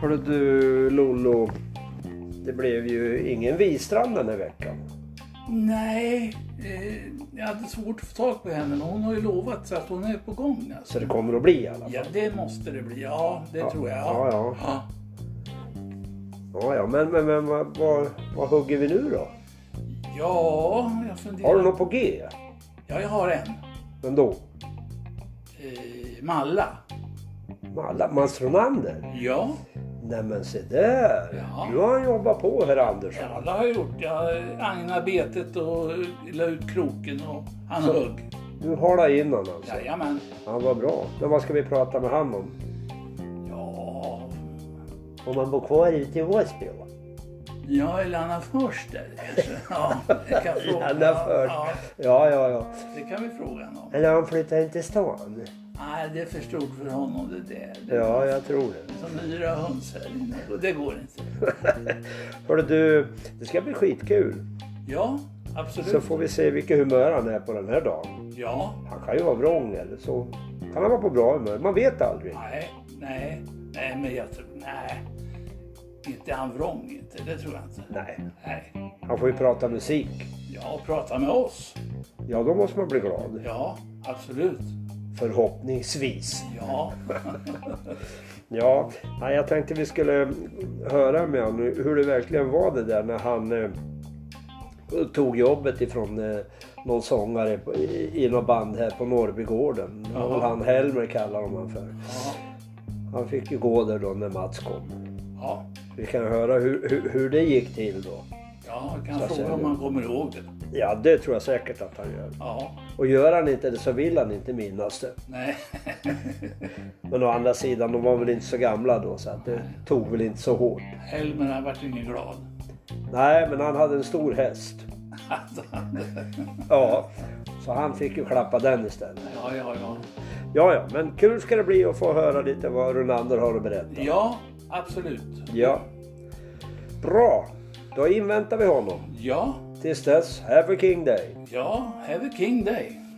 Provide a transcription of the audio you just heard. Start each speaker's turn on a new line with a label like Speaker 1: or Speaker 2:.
Speaker 1: Hörru du Lollo. Det blev ju ingen Wistrand den här veckan.
Speaker 2: Nej, eh, jag hade svårt att få tag på henne men hon har ju lovat så att hon är på gång. Alltså.
Speaker 1: Så det kommer att bli i alla fall.
Speaker 2: Ja, det måste det bli. Ja, det tror jag.
Speaker 1: ja, ja.
Speaker 2: Ja.
Speaker 1: Ja, ja. Men, men, men vad, vad, vad hugger vi nu då?
Speaker 2: Ja, jag funderar.
Speaker 1: Har du något på G?
Speaker 2: Ja, jag har en.
Speaker 1: Men då?
Speaker 2: Eh, Malla.
Speaker 1: Malla- Mats Ronander?
Speaker 2: Ja,
Speaker 1: Nej men se där!
Speaker 2: Ja.
Speaker 1: Nu har han jobbat på herr Andersson.
Speaker 2: ja, det har jag gjort. Jag agnade betet och la ut kroken och han
Speaker 1: Så-
Speaker 2: högg.
Speaker 1: Du har det innan alltså.
Speaker 2: Jajamän.
Speaker 1: Han var bra. Men vad ska vi prata med han om?
Speaker 2: Ja,
Speaker 1: Om han bor kvar ute i Åsby va?
Speaker 2: ja eller han har först där kanske. Ja, det kan fråga.
Speaker 1: Han har först. Ja,
Speaker 2: Ja,
Speaker 1: ja, ja.
Speaker 2: det kan vi fråga honom.
Speaker 1: Eller han flyttar in till stan?
Speaker 2: Nej, det är för stort för honom det där. Det
Speaker 1: Ja, jag tror det.
Speaker 2: är Som yra höns här inne. Och det går inte.
Speaker 1: Hörru du, det ska bli skitkul.
Speaker 2: Ja, absolut.
Speaker 1: Så får vi se vilket humör han är på den här dagen.
Speaker 2: Ja,
Speaker 1: Han kan ju vara vrång eller så kan han vara på bra humör. Man vet aldrig.
Speaker 2: nej, nej, nej, men jag tror, nej. Inte han vrång inte, det tror jag inte.
Speaker 1: Nej,
Speaker 2: Nej,
Speaker 1: han får ju prata musik.
Speaker 2: ja, prata med oss.
Speaker 1: Ja, då måste man bli glad.
Speaker 2: Ja, absolut.
Speaker 1: Förhoppningsvis.
Speaker 2: Ja,
Speaker 1: Ja, nej, jag tänkte vi skulle höra med honom hur det verkligen var det där när han eh, tog jobbet ifrån eh, någon sångare på, i, i något band här på Norrbygården. Det var väl
Speaker 2: Jaha.
Speaker 1: Han Helmer kallar de han för.
Speaker 2: ja,
Speaker 1: Han fick ju gå där då när Mats kom.
Speaker 2: ja,
Speaker 1: Vi kan höra hur, hur, hur det gick till då.
Speaker 2: ja jag kan
Speaker 1: Så säger
Speaker 2: fråga om
Speaker 1: du.
Speaker 2: han kommer ihåg det.
Speaker 1: Ja, det tror jag säkert att han gör.
Speaker 2: Ja,
Speaker 1: Och gör han inte det så vill han inte minnas det.
Speaker 2: nej,
Speaker 1: Men å andra sidan, de var väl inte så gamla då så att det tog väl inte så hårt.
Speaker 2: Helmer han vart ingen glad.
Speaker 1: Nej, men han hade en stor häst.
Speaker 2: Alltså,
Speaker 1: Ja, så han fick ju klappa den istället.
Speaker 2: Ja, ja, ja.
Speaker 1: Ja, ja, men kul ska det bli att få höra lite vad Runander har att berätta.
Speaker 2: Ja, absolut.
Speaker 1: Ja. Bra, då inväntar vi honom.
Speaker 2: Ja,
Speaker 1: Tills dess, have a king day.
Speaker 2: ja, have a king day.